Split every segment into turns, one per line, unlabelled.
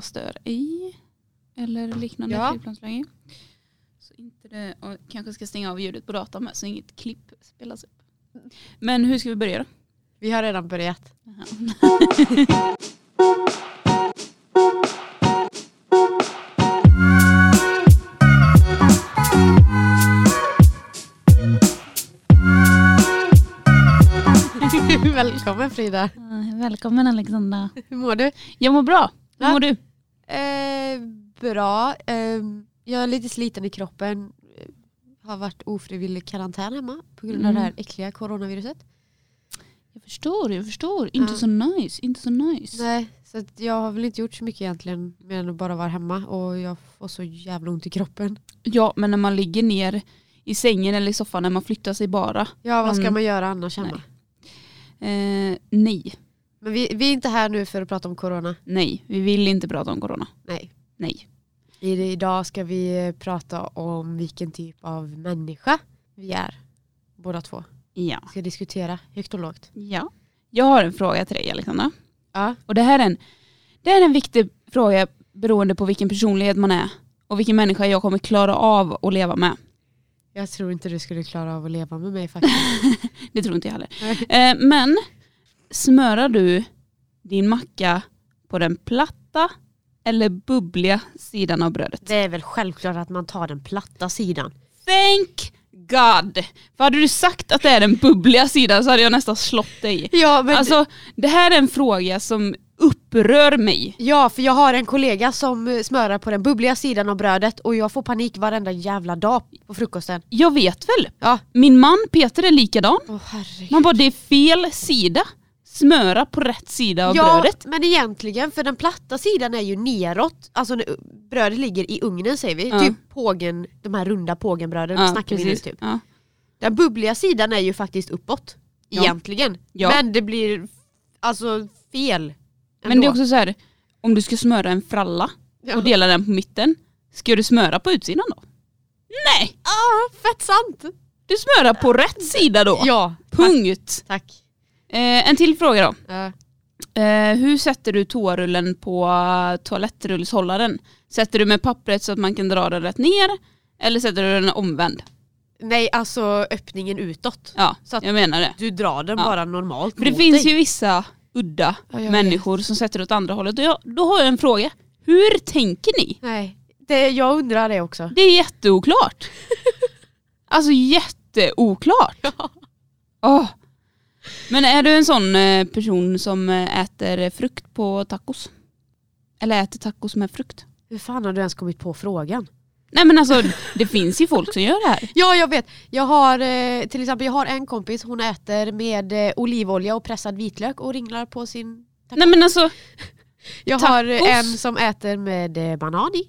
stör i eller liknande
Ja.
flygplansläge. Så inte det, och kanske ska stänga av ljudet på datorn med så inget klipp spelas upp. Men hur ska vi börja då?
Vi har redan börjat.
Jaha.
Välkommen Frida.
Eh, Välkommen Alexandra.
Hur mår du?
Jag mår bra. Hur
Ja.
mår du?
Eh, bra. Eh, jag är lite sliten i kroppen. Eh, Har varit ofrivillig karantän hemma på grund av
Mm.
det här äckliga coronaviruset.
Jag förstår, jag förstår. Inte
Ja.
så nice, inte så nice.
Nej, så att jag har väl inte gjort så mycket egentligen mer än att bara vara hemma och jag får så jävla ont i kroppen.
Ja, men när man ligger ner i sängen eller i soffan när man flyttar sig bara.
Ja, vad ska
Mm.
man göra annars hemma?
Nej. Eh, nej,
Men vi, vi är inte här nu för att prata om corona.
nej, vi vill inte prata om corona.
Nej.
Nej.
I, idag ska vi eh, prata om vilken typ av människa vi är. Båda två.
Ja.
Vi ska diskutera högt och lågt.
ja. Jag har en fråga till dig Alexandra.
Ja.
Och det här är en, det här är en viktig fråga beroende på vilken personlighet man är och vilken människa jag kommer klara av att leva med.
Jag tror inte du skulle klara av att leva med mig faktiskt.
Det tror inte jag heller.
Nej.
Eh, men smörar du din macka på den platta eller bubbliga sidan av brödet?
Det är väl självklart att man tar den platta sidan.
Thank God! För hade du sagt att det är den bubbliga sidan så hade jag nästan slått dig.
Ja, men
Alltså det här är en fråga som upprör mig.
ja, för jag har en kollega som eh, smörar på den bubbliga sidan av brödet och jag får panik varenda jävla dag på frukosten.
Jag vet väl,
Ja.
min man Peter är likadan.
Åh herregud.
Man bara det är fel sida. Smöra på rätt sida av
Ja,
brödet.
men egentligen för den platta sidan är ju neråt, alltså när u- brödet ligger i ugnen säger vi,
Ja.
typ pågen, de här runda pågenbröden snackar vi nu typ.
Ja.
Den bubbliga sidan är ju faktiskt uppåt.
Ja.
Egentligen.
Ja.
Men det blir alltså fel.
Men det är också så här, om du ska smöra en fralla och dela den på mitten, ska du smöra på utsidan då? Nej!
ah, fett sant!
Du smörar på rätt sida då.
Ja,
Punkt.
tack.
Eh, en till fråga då.
Ja.
Eh, hur sätter du toarullen på toalettrullshållaren? Sätter du med pappret så att man kan dra den rätt ner? Eller sätter du den omvänd?
nej, alltså öppningen utåt.
Ja,
Så att-
jag menar det.
Du drar den
Ja.
bara normalt
För det
mot
finns
dig.
ju vissa udda
Ja, jag
människor som sätter åt andra hållet. Och jag, då har jag en fråga. Hur tänker ni?
Nej, det, jag undrar det också.
Det är jätteoklart. alltså jätteoklart.
Ja.
Åh. Men är du en sån eh, person som eh, äter frukt på tacos? Eller äter tacos med frukt?
Hur fan har du ens kommit på frågan?
Nej men alltså det finns ju folk som gör det här.
Ja jag vet, jag har eh, till exempel jag har en kompis hon äter med eh, olivolja och pressad vitlök och ringlar på sin
Nej men alltså
Jag har eh,
Tacos.
en som äter med eh, banan i.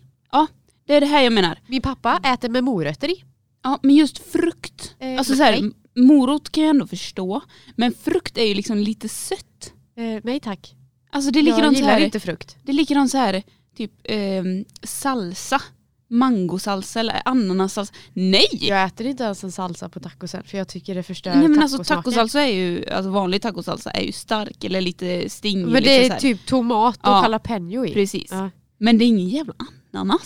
det är det här jag menar.
Min pappa
Mm.
äter med morötter i.
Ja men just frukt.
Eh,
Alltså så här,
nej.
m- morot kan jag ändå förstå. Men frukt är ju liksom lite sött.
Eh, nej tack.
Alltså det är
Jag
likadant så
gillar
här.
inte frukt.
Det är likadant så här typ ehm, salsa. Mangosalsa eller ananassalsa. Nej!
Jag äter inte ens en salsa på tacosen för jag tycker det förstör
Nej men alltså
tacosmaken.
tacosalsa är ju, alltså vanlig tacosalsa är ju stark eller lite stingig.
Men det
liksom så
är
här.
typ tomat och
Ja.
jalapeno i.
Precis.
Ja.
Men det är ingen jävla ananas.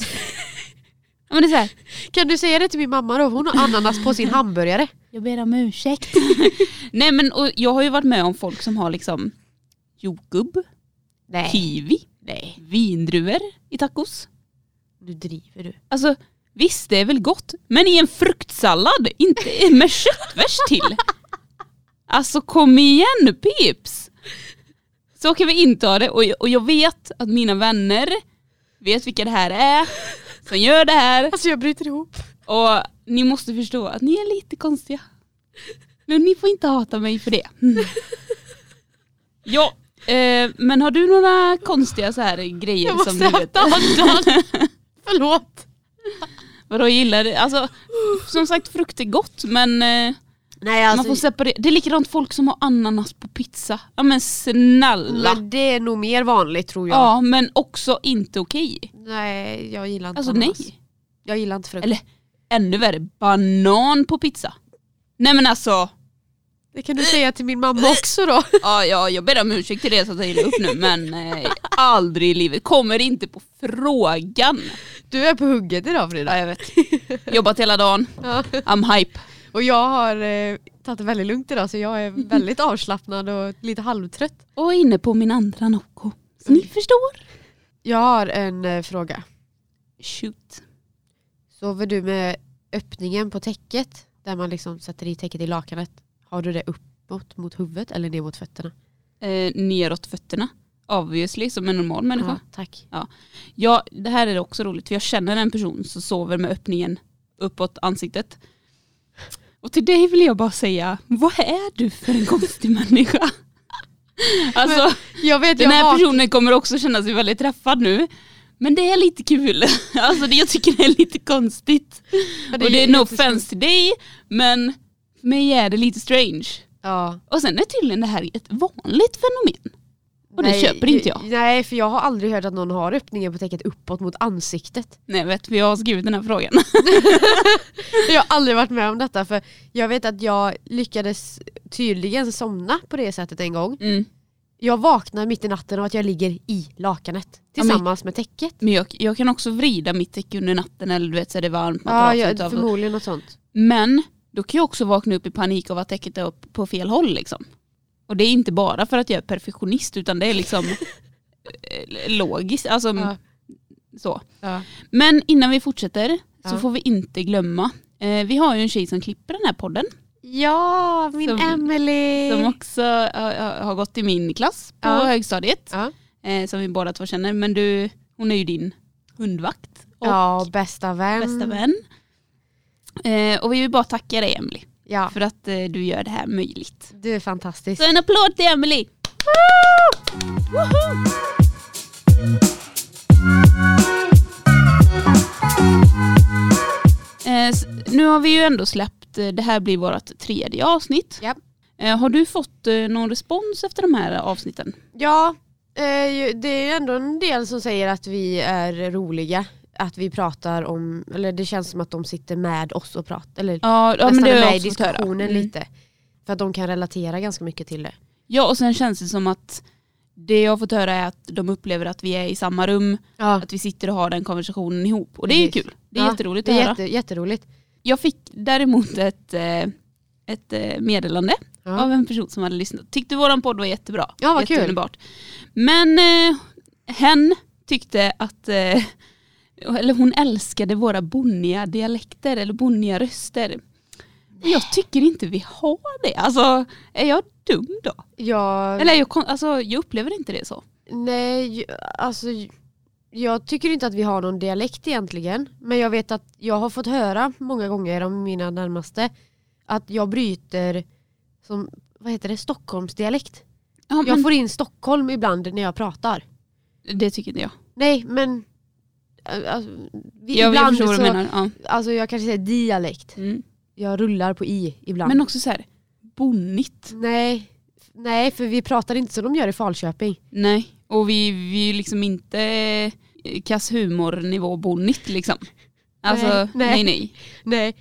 ja, men det är så här,
Kan du säga det till min mamma då? Hon har ananas på sin hamburgare.
Jag ber om ursäkt. Nej men och jag har ju varit med om folk som har liksom jordgubb,
Nej.
kiwi,
Nej.
vindruvor i tacos.
Nu driver du.
Alltså visst det är väl gott men i en fruktsallad, inte med köttfärs till. Alltså kom igen pips. Så kan vi inte ha det och jag, och jag vet att mina vänner vet vilka det här är som gör det här
Alltså jag bryter ihop.
och ni måste förstå att ni är lite konstiga. Men ni får inte hata mig för det. Mm. Ja, eh, men har du några konstiga så här grejer
Jag
som
måste
du
ha
vet?
andan. Förlåt.
Vadå gillar det? Alltså som sagt frukt är gott men eh,
Nej alltså,
man får separera. Det är likadant folk som har ananas på pizza. Ja men snälla.
men det är nog mer vanligt tror jag.
ja men också inte okej.
Nej jag gillar inte
Alltså nej.
ananas. Jag gillar inte frukt.
Eller ännu värre, banan på pizza. Nej men alltså.
Det kan du säga till min mamma också då.
Ja, ja, jag ber om ursäkt till det som jag illa upp nu men eh, aldrig i livet. Kommer inte på frågan.
Du är på hugget idag Frida.
Ja, jag vet. Jobbat hela dagen.
Ja.
I'm hype.
Och jag har eh, tagit det väldigt lugnt idag så jag är väldigt avslappnad och lite halvtrött.
Och inne på min andra Nocco. Så ni förstår.
Jag har en eh, fråga.
Shoot.
Sover du med öppningen på täcket där man liksom sätter i täcket i lakanet? Har du det uppåt mot huvudet eller ner mot fötterna?
Eh, neråt fötterna. Obviously, som en normal människa.
Ja, tack.
Ja, det här är också roligt för jag känner en person som sover med öppningen uppåt ansiktet. Och till dig vill jag bara säga, vad är du för en konstig människa? Alltså,
Jag vet,
den
jag
här
har...
personen kommer också känna sig väldigt träffad nu. Men det är lite kul. Alltså det, jag tycker det är lite konstigt.
Ja,
och det är no
jätteskumt.
offense till dig, men för mig är det lite strange.
Ja.
Och sen är tydligen det här ett vanligt fenomen. Och det köper inte jag.
Nej, för jag har aldrig hört att någon har öppningen på täcket uppåt mot ansiktet.
Nej jag vet, för jag har skrivit den här frågan.
Jag har aldrig varit med om detta för jag vet att jag lyckades tydligen somna på det sättet en gång.
Mm.
Jag vaknar mitt i natten av att jag ligger i lakanet
Ja, men-
tillsammans med täcket.
Men jag, jag kan också vrida mitt täcke under natten eller du vet så är det varmt. Man tar
Ja,
av sig
jag,
utav-
förmodligen något sånt.
Men då kan jag också vakna upp i panik av att täcket är upp på fel håll liksom. Och det är inte bara för att jag är perfektionist utan det är liksom eh, logiskt. Alltså,
Ja.
så.
Ja.
Men innan vi fortsätter så
Ja.
får vi inte glömma. Eh, vi har ju en tjej som klipper den här podden
Ja, min
Som-
Emily.
som också har, har gått i min klass på
Eh. Ja.
högstadiet.
ja.
Eh, som vi båda två känner. Men du, hon är ju din hundvakt och
ja, bästa vän.
bästa vän. Eh, och vi vill bara tacka dig Emily
Ja,
för att eh, du gör det här möjligt.
du är fantastisk.
Så en applåd till Emily. Eh, s- Nu har vi ju ändå släppt, eh, det här blir vårt tredje avsnitt.
Ja.
Eh, Har du fått eh, någon respons efter de här avsnitten?
Ja, eh, ju- det är ändå en del som säger att vi är roliga. Att vi pratar om, eller det känns som att de sitter med oss och pratar. Eller
Ja,
nästan
det
är
har
med
jag
i
också fått höra.
diskussionen
Mm.
lite. För att de kan relatera ganska mycket till det.
Ja och sen känns det som att det jag har fått höra är att de upplever att vi är i samma rum,
Ja,
att vi sitter och har den konversationen ihop. Och det är ju
Precis.
kul. Det är
Ja,
jätteroligt
det
att
är
höra.
jätte, jätteroligt.
Jag fick däremot ett, eh, ett eh, meddelande
Ja.
av en person som hade lyssnat. Tyckte våran podd var jättebra.
Ja, vad kul.
Jätteunderbart. Men eh, hen tyckte att, eh, eller hon älskade våra bonniga dialekter eller bonniga röster. Men Jag tycker inte vi har det. Alltså är jag dum då?
Jag,
Eller är jag, kon- alltså, jag upplever inte det så.
nej, ju- alltså ju- jag tycker inte att vi har någon dialekt egentligen. Men jag vet att jag har fått höra många gånger av mina närmaste att jag bryter som, vad heter det, Stockholmsdialekt.
Ja,
Jag
men,
får in Stockholm ibland när jag pratar.
Det tycker inte jag.
Nej men äh, alltså, vi-
Jag, jag
ibland
förstår vad
så,
du menar. Ja.
Alltså jag kanske säger dialekt.
Mm.
Jag rullar på i ibland.
Men också så här, bonnigt.
nej, f- nej för vi pratar inte som de gör i Falköping.
Nej, och vi, vi är liksom inte eh, kass humornivå bonnigt liksom. Alltså, nej nej.
Nej, nej. Nej.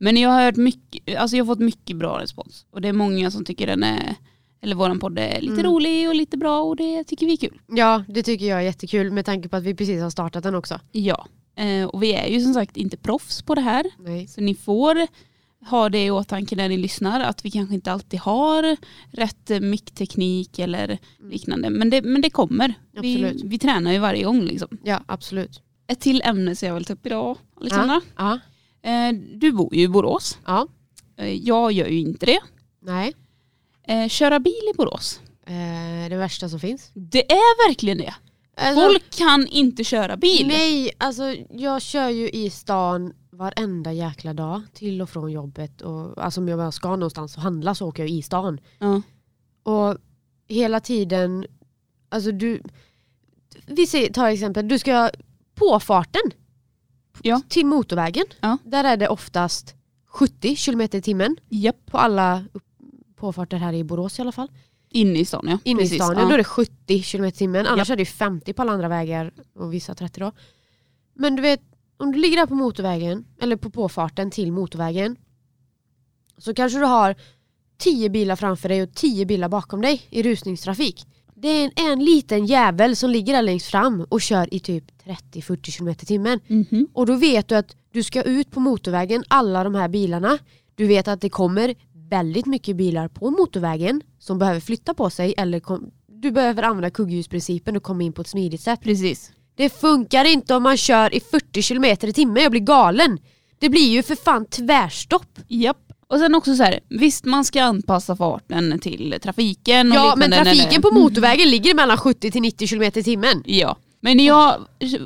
Men jag har hört mycket, alltså jag har fått mycket bra respons. Och det är många som tycker den är, eller våran podd är lite
Mm.
rolig och lite bra och det tycker vi är kul.
Ja det tycker jag är jättekul med tanke på att vi precis har startat den också.
Ja, eh, och vi är ju som sagt inte proffs på det här.
Nej.
Så ni får ha det i åtanke när ni lyssnar att vi kanske inte alltid har rätt eh, mickteknik eller liknande. Men det, men det kommer. Vi,
Mm. Absolut.
vi tränar ju varje gång liksom.
Ja absolut.
ett till ämne som jag vill ta upp idag, Alexandra.
Ja.
Eh, du bor ju i Borås.
Ja.
Eh, jag gör ju inte det.
Nej.
Eh, köra bil i Borås.
Eh, det värsta som finns.
Det är verkligen det.
Alltså,
Folk kan inte köra bil.
Nej, alltså jag kör ju i stan varenda jäkla dag till och från jobbet. Och, alltså om jag bara ska någonstans och handla så åker jag i stan.
Ja.
Och hela tiden, alltså du, vi säger, tar exempel, du ska på farten
Ja.
till motorvägen.
Ja.
Där är det oftast 70 km i timmen
Japp.
på alla upp- påfarter här i Borås i alla fall.
Inne i stan ja.
Inne i
Precis,
stan, ja.
ja.
då är det 70 km i timmen. Annars är det ju 50 på alla andra vägar och vissa 30 då. Men du vet, om du ligger där på motorvägen, eller på påfarten till motorvägen, så kanske du har tio bilar framför dig och tio bilar bakom dig i rusningstrafik. Det är en, en liten jävel som ligger där längst fram och kör i typ 30-40 km i timmen.
Mhm.
Och då vet du att du ska ut på motorvägen, alla de här bilarna. Du vet att det kommer väldigt mycket bilar på motorvägen som behöver flytta på sig eller kom, du behöver använda kugghjulsprincipen och komma in på ett smidigt sätt.
Precis.
Det funkar inte om man kör i 40 km i timmen, jag blir galen. Det blir ju för fan tvärstopp.
Japp. Och sen också så här, visst man ska anpassa farten till trafiken. Och
Ja men
liknande när det-
trafiken på motorvägen ligger mellan 70 till 90 km i timmen.
Ja. Men jag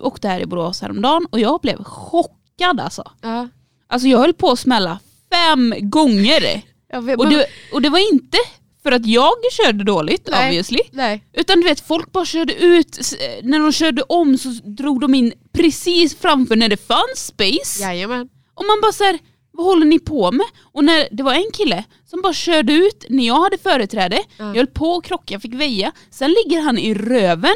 åkte här i Borås häromdagen och jag blev chockad alltså.
Ja.
Alltså jag höll på att smälla fem gånger.
Jag vet,
Och
men-
det, och det var inte för att jag körde dåligt
Nej.
obviously.
Nej.
Utan du vet folk bara körde ut, s- när de körde om så drog de in precis framför när det fanns space.
Jajamän.
Och man bara såhär, vad håller ni på med? Och när det var en kille som bara körde ut när jag hade företräde,
Ja.
jag höll på att krocka, fick väja. Sen ligger han i röven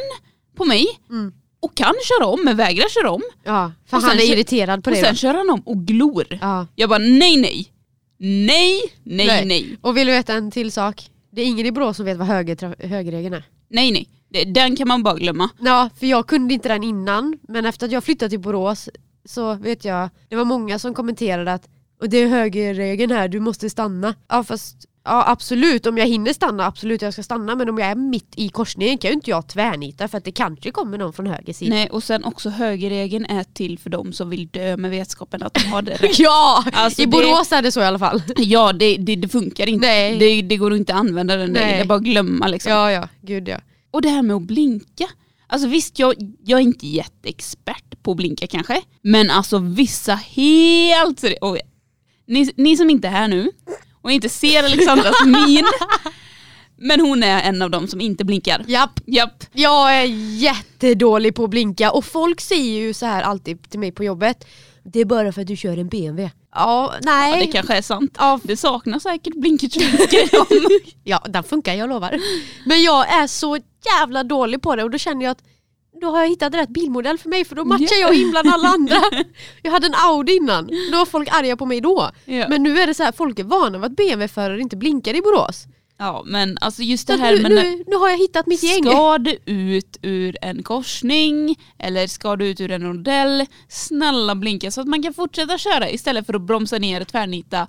på mig
Mm.
och kan köra om men vägrar köra om.
Ja, för
Och
han
sen
är
kö-
irriterad på
och
det.
sen
då.
kör han om och glor.
Ja.
Jag bara nej nej. Nej, nej, nej. Nej,
Och vill du veta en till sak? Det är ingen i Borås som vet vad höger, högerregeln är.
nej. Det- Den kan man bara glömma.
Ja, för jag kunde inte den innan. Men efter att jag flyttade till Borås så vet jag, det var många som kommenterade att och det är högerregeln här, du måste stanna. Ja fast, ja absolut om jag hinner stanna, absolut jag ska stanna. Men om jag är mitt i korsningen kan ju inte jag tvärnita för att det kanske kommer någon från höger sida.
Nej, och sen också högerregeln är till för de som vill dö med vetskapen att de har det rätt.
Ja!
Alltså,
I
det-
Borås är det så i alla fall.
Ja, det, det, det funkar inte.
Nej.
Det, det går inte att använda den där.
Nej.
Det är bara att glömma liksom.
Ja ja, gud ja.
Och det här med att blinka. Alltså visst, jag, jag är inte jätteexpert på att blinka kanske. Men alltså vissa helt... seri- Och, ni, ni som inte är här nu och inte ser Alexandras min. Men hon är en av dem som inte blinkar.
Japp.
Japp.
Jag är jättedålig på att blinka och folk säger ju så här alltid till mig på jobbet. Det är bara för att du kör en BMW. Ja,
Ja, det
nej.
kanske är sant.
Ja.
Det saknas säkert blinkertruckar.
Ja, den funkar, jag lovar. Men jag är så jävla dålig på det och då känner jag att då har jag hittat rätt bilmodell för mig för då matchar jag in bland alla andra. Jag hade en Audi innan, då var folk arga på mig då.
Ja.
Men nu är det så här, folk är vana vid att BMW-förare inte blinkar i Borås.
ja men alltså just
Så
det
att
här
nu,
med när-
nu, nu har jag hittat mitt gäng.
Ska du ut ur en korsning eller ska du ut ur en rondell, snälla blinka så att man kan fortsätta köra istället för att bromsa ner och tvärnita. Ja,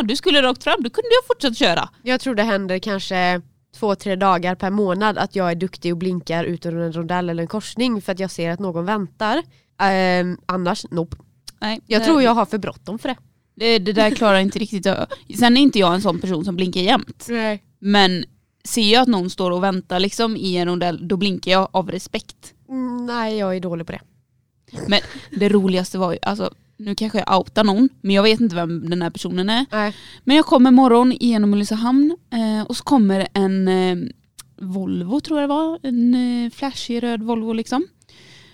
ah, du skulle rakt fram, då kunde jag fortsätta köra.
Jag tror det händer kanske två, tre dagar per månad att jag är duktig och blinkar ut ur en rondell eller en korsning för att jag ser att någon väntar. Ehm, annars, nope.
Nej,
Jag
det,
tror jag har för bråttom för det.
Det, det där klarar jag inte riktigt. av. Sen är inte jag en sån person som blinkar jämt.
Nej.
Men ser jag att någon står och väntar liksom i en rondell, då blinkar jag av respekt.
Mm, nej, jag är dålig på det.
Men det roligaste var ju, alltså nu kanske jag outar någon, men jag vet inte vem den här personen är.
Nej.
Men jag kom en morgon genom Ulricehamn eh, och så kommer en eh, Volvo tror jag det var, en eh, flashig röd Volvo liksom.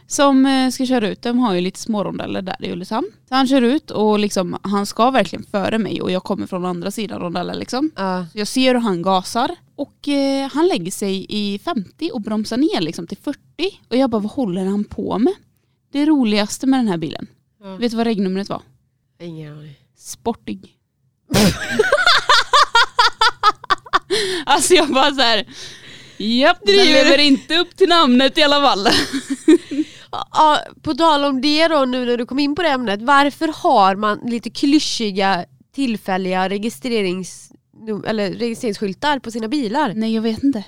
Som eh, ska köra ut, de har ju lite smårondeller där i Ulricehamn. Så han kör ut och liksom, han ska verkligen före mig och jag kommer från andra sidan rondellen liksom.
Ja.
Så jag ser hur han gasar och eh, han lägger sig i 50 och bromsar ner liksom till 40. Och jag bara, vad håller han på med? Det roligaste med den här bilen,
Ja.
vet du vad regnumret var?
Ingen aning.
Sportig. alltså jag bara så här. Japp, den
Driver.
lever inte upp till namnet i alla fall.
Ja, på tal om det då, nu när du kom in på det ämnet. Varför har man lite klyschiga tillfälliga registrerings, eller registreringsskyltar på sina bilar?
Nej jag vet inte.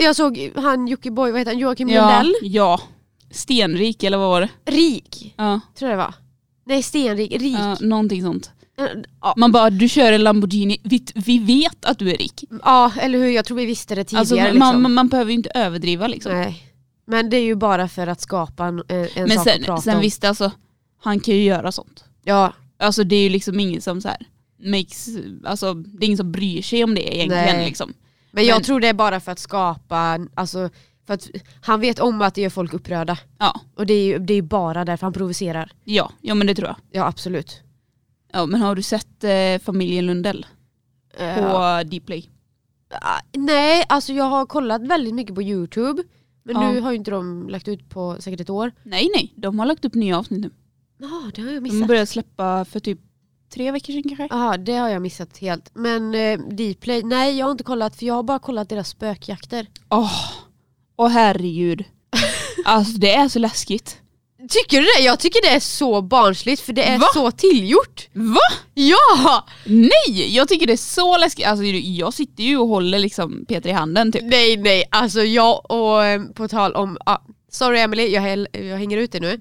Jag såg han Jockiboi, vad heter han, Joakim
Ja,
Lundell?
ja. Stenrik eller vad var det?
Rik.
Ja,
tror jag det var. Nej, stenrik, rik.
ja, någonting sånt.
Ja.
Man bara, du kör en Lamborghini, vi, vi vet att du är rik.
ja, eller hur? Jag tror vi visste det tidigare.
Alltså, man,
liksom.
man, man behöver ju inte överdriva liksom.
Nej. Men det är ju bara för att skapa en, en en
Men
sak att
sen,
prata
sen
om.
visst alltså, han kan ju göra sånt.
Ja,
Alltså det är ju liksom ingen som så här, makes, alltså, det är ingen som bryr sig om det egentligen
Nej.
liksom.
men jag
Men-
tror det är bara för att skapa, alltså, för att han vet om att det gör folk upprörda.
Ja.
Och det är ju det är ju bara därför han provocerar.
Ja, ja men det tror jag.
Ja, absolut.
Ja, men har du sett eh, familjen Lundell på
Eh,
Dplay?
ah, nej, alltså jag har kollat väldigt mycket på Youtube. Men
Ja.
nu har ju inte de lagt ut på säkert ett år.
Nej nej, de har lagt upp nya avsnitt nu.
Ja, det har jag
De
missat.
började släppa för typ tre veckor sedan kanske.
Jaha, det har jag missat helt. Men eh, Dplay, nej jag har inte kollat för jag har bara kollat deras spökjakter.
Åh, åh herregud. Alltså det är så läskigt.
Tycker du det? Jag tycker det är så barnsligt för det är
Va?
så tillgjort.
Va?
Ja!
Nej, jag tycker det är så läskigt. Alltså jag sitter ju och håller liksom Peter i handen typ.
Nej nej, alltså jag och eh, på tal om, ah, sorry Emily, jag, häl- jag hänger ut dig nu.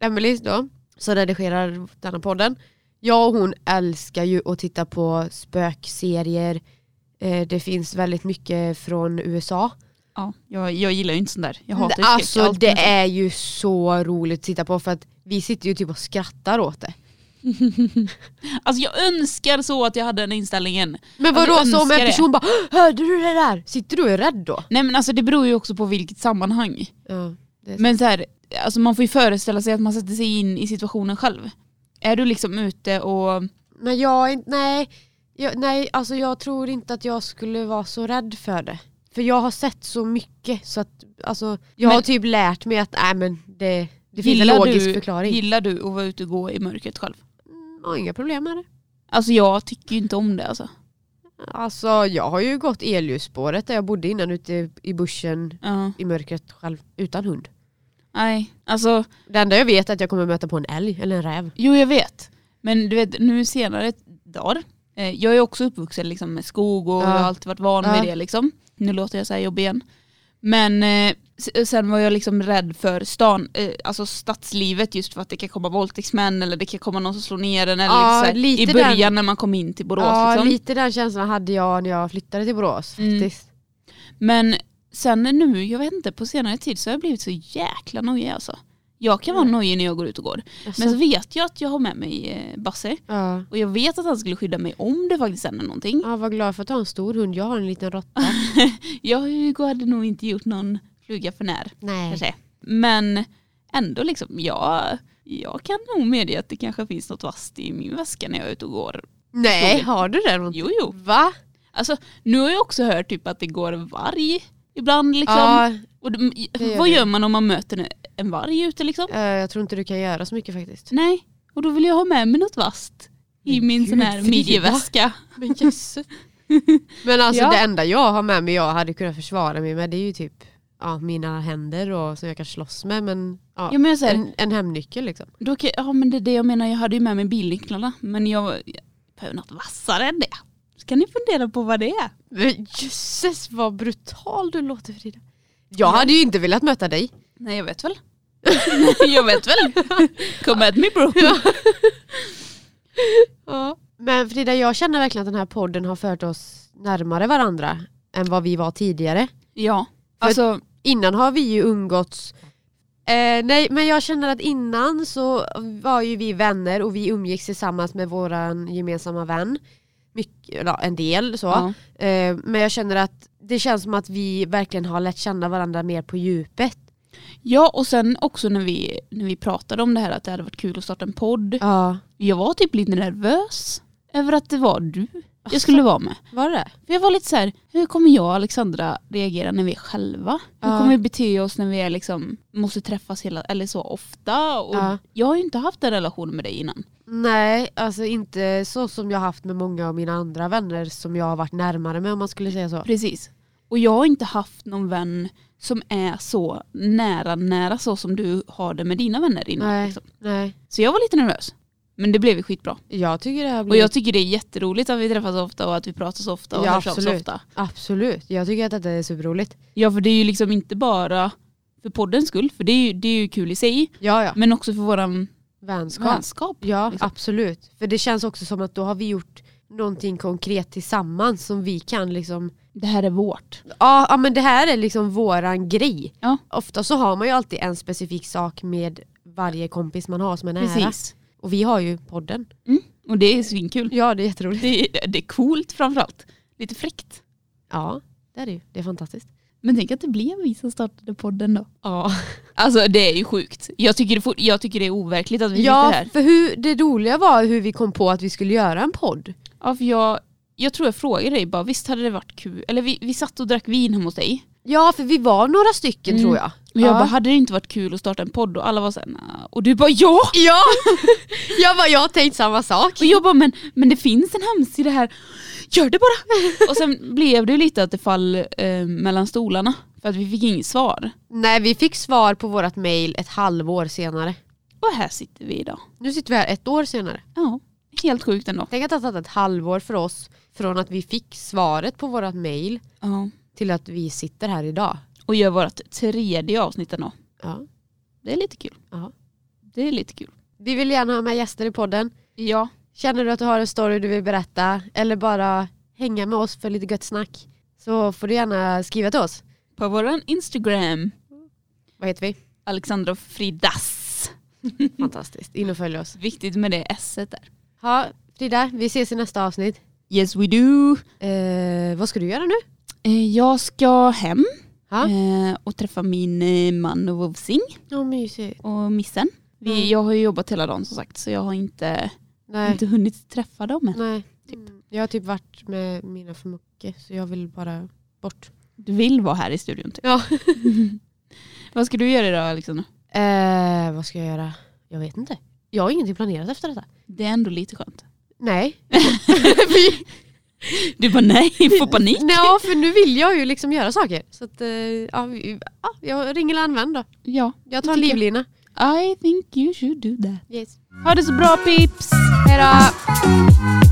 Emily då, som redigerar denna podden. Jag och hon älskar ju att titta på spökserier. Eh, det finns väldigt mycket från USA.
Ja, jag, jag gillar ju inte sånt där. Jag hatar ju skräck. Jag
Alltså
alltid-
det är ju så roligt att titta på för att vi sitter ju typ och skrattar åt det.
Alltså jag önskar så att jag hade den inställningen.
Men
Ja, du
vadå, så om
önskar
en
det.
person bara "Hå, “Hörde du det där?” Sitter du och är rädd då?
Nej men alltså det beror ju också på vilket sammanhang.
Ja, det är så.
Men så här, alltså man får ju föreställa sig att man sätter sig in i situationen själv. Är du liksom ute och...
Men jag är inte- nej, jag, nej alltså jag tror inte att jag skulle vara så rädd för det. För jag har sett så mycket så att alltså, jag
Men-
har typ lärt mig att nej men det, det finns en logisk
du,
förklaring.
Gillar du att vara ute och gå i mörkret själv?
Mm, och inga problem med det.
Alltså jag tycker ju inte om det alltså.
Alltså jag har ju gått elljusspåret där jag bodde innan ute i bushen
Ja.
i mörkret själv utan hund.
Nej, alltså
Det enda jag vet är att jag kommer möta på en älg eller en räv.
jo jag vet. Men du vet nu senare dagar, eh, jag är också uppvuxen liksom med skog och
Ja.
jag har alltid varit van vid
Ja.
det liksom. Nu låter jag så här jobbig igen. Men eh, s- sen var jag liksom rädd för stan, eh, alltså stadslivet just för att det kan komma våldtäktsmän eller det kan komma någon som slår ner en. Eller
Ja,
liksom så här,
lite
I
den-
början när man kom in till Borås.
ja,
liksom.
lite den känslan hade jag när jag flyttade till Borås
Mm.
faktiskt.
Men sen nu, jag vet inte, på senare tid så har jag blivit så jäkla nojig alltså. Jag kan vara
Mm.
nojig när jag går ut och går.
Alltså,
Men så vet jag att jag har med mig eh, Basse.
ja.
Och jag vet att han skulle skydda mig om det faktiskt hände någonting.
ja, vad glad för att du har en stor hund. Jag har en liten råtta.
Jag och Hugo hade nog inte gjort någon fluga för när.
Nej.
Kanske. Men ändå liksom, jag, jag kan nog medge att det kanske finns något vasst i min väska när jag är ute och går.
Nej, har du det? någonting?
Jo, jo.
Va?
Alltså, nu har jag också hört typ att det går varg ibland liksom.
Ja,
Och de,
gör
vad
det.
gör man om man möter en- en varg ute liksom?
eh, jag tror inte du kan göra så mycket faktiskt.
Nej, och då vill jag ha med mig något vasst i
Men
min
gud,
sån här
Frida.
midjeväska.
Men jösses. Men alltså
Ja.
det enda jag har med mig jag hade kunnat försvara mig med det är ju typ ja, mina händer och, som jag kan slåss med. Men, ja,
Ja, men jag säger,
en, en hemnyckel liksom.
då kan, ja men det är det jag menar, jag hade ju med mig bilnycklarna men jag, jag behöver något vassare än det. Så kan ni fundera på vad det är.
Men jösses vad brutal du låter Frida. Jag hade ju inte velat möta dig.
Nej jag vet väl. jag vet väl. Come at me bro.
Men Frida, jag känner verkligen att den här podden har fört oss närmare varandra än vad vi var tidigare.
Ja, alltså
Innan har vi ju umgåtts Eh, nej men jag känner att innan så var ju vi vänner och vi umgicks tillsammans med våran gemensamma vän. Mycket, ja, en del så.
ja.
Eh, men jag känner att det känns som att vi verkligen har lärt känna varandra mer på djupet.
ja och sen också när vi, när vi pratade om det här att det hade varit kul att starta en podd.
Ja.
Jag var typ lite nervös över att det var du jag skulle vara med.
Var det?
För jag var lite så här, hur kommer jag och Alexandra reagera när vi är själva? Hur
Ja.
kommer vi bete oss när vi är liksom, måste träffas hela, eller så ofta? Och
Ja.
Jag har ju inte haft en relation med dig innan.
Nej, alltså inte så som jag haft med många av mina andra vänner som jag har varit närmare med om man skulle säga så.
Precis. Och jag har inte haft någon vän som är så nära, nära så som du har det med dina vänner innan.
Nej.
liksom.
Nej.
Så jag var lite nervös. Men det blev ju skitbra.
Jag tycker det här blir...
Och jag tycker det är jätteroligt att vi träffas så ofta och att vi pratar så ofta och
Mm. Ja,
hörs av så
absolut.
ofta.
Absolut, jag tycker att detta är superroligt.
Ja för det är ju liksom inte bara för poddens skull, för det är ju, det är ju kul i sig,
Ja, ja.
men också för våran
Vänskap.
Mm. vänskap.
Ja,
liksom.
absolut. För det känns också som att då har vi gjort någonting konkret tillsammans som vi kan liksom...
Det här är vårt.
Ja, ja men det här är liksom våran grej.
Ja.
Ofta så har man ju alltid en specifik sak med varje kompis man har som är nära.
Precis. Mm.
Och vi har ju podden.
Och det är svinkul.
Ja, det är jätteroligt.
Det, det, det är coolt framförallt. Lite fräckt.
Ja, det är det ju. Det är fantastiskt.
Men tänk att det blev vi som startade podden då.
Ja.
Alltså det är ju sjukt. Jag tycker det, fort- jag tycker det är overkligt att vi sitter
Ja,
här.
för hur, det roliga var hur vi kom på att vi skulle göra en podd.
Ja, för jag, jag tror jag frågade dig bara, visst hade det varit kul? Eller vi, vi satt och drack vin hemma hos dig.
Ja, för vi var några stycken
Mm.
tror jag.
Och jag
ja.
bara, hade det inte varit kul att starta en podd? Och alla var såhär, "Nja, Och du bara ja!
Ja! Jag bara, jag har tänkt samma sak.
Och jag bara men, men det finns en hemsida här, gör det bara! Och sen blev det ju lite att det fall eh, mellan stolarna för att vi fick inget svar.
Nej vi fick svar på vårt mail ett halvår senare.
Och här sitter vi idag.
Nu sitter vi här ett år senare.
Ja, helt sjukt ändå.
Tänk att det har tagit ett halvår för oss från att vi fick svaret på vårt mail
Ja.
till att vi sitter här idag.
Och gör vårt tredje avsnitt ändå.
Ja.
Det är lite kul.
Ja.
Det är lite kul.
Vi vill gärna ha med gäster i podden.
Ja.
Känner du att du har en story du vill berätta eller bara hänga med oss för lite gött snack så får du gärna skriva till oss.
På vår Instagram,
Vad heter vi?
Alexandra Fridas.
Fantastiskt. In och följ oss.
Viktigt med det s där.
Ha, Frida, vi ses i nästa avsnitt.
Yes we do.
Eh, vad ska du göra nu?
Eh, Jag ska hem
Ja.
eh, och träffa min eh, man och vovsing
Åh mysigt.
och missen. Vi,
Mm.
Jag har ju jobbat hela dagen som sagt så jag har inte,
Nej.
inte hunnit träffa dem än.
Nej. Mm. Jag har typ varit med mina för mycket så jag vill bara bort.
Du vill vara här i studion typ.
Ja.
Vad ska du göra idag Alexandra?
Eh, vad ska jag göra? Jag vet inte. Jag har ingenting planerat efter detta.
Det är ändå lite skönt.
Nej. Vi-
Du bara nej, får panik.
Nej, ja, för nu vill jag ju liksom göra saker. Så att, eh, ja, vi- ja, jag ringer eller använder då.
Ja,
Jag tar en livlina.
I think you should do that.
Yes.
Ha det så bra pips!
Hej då!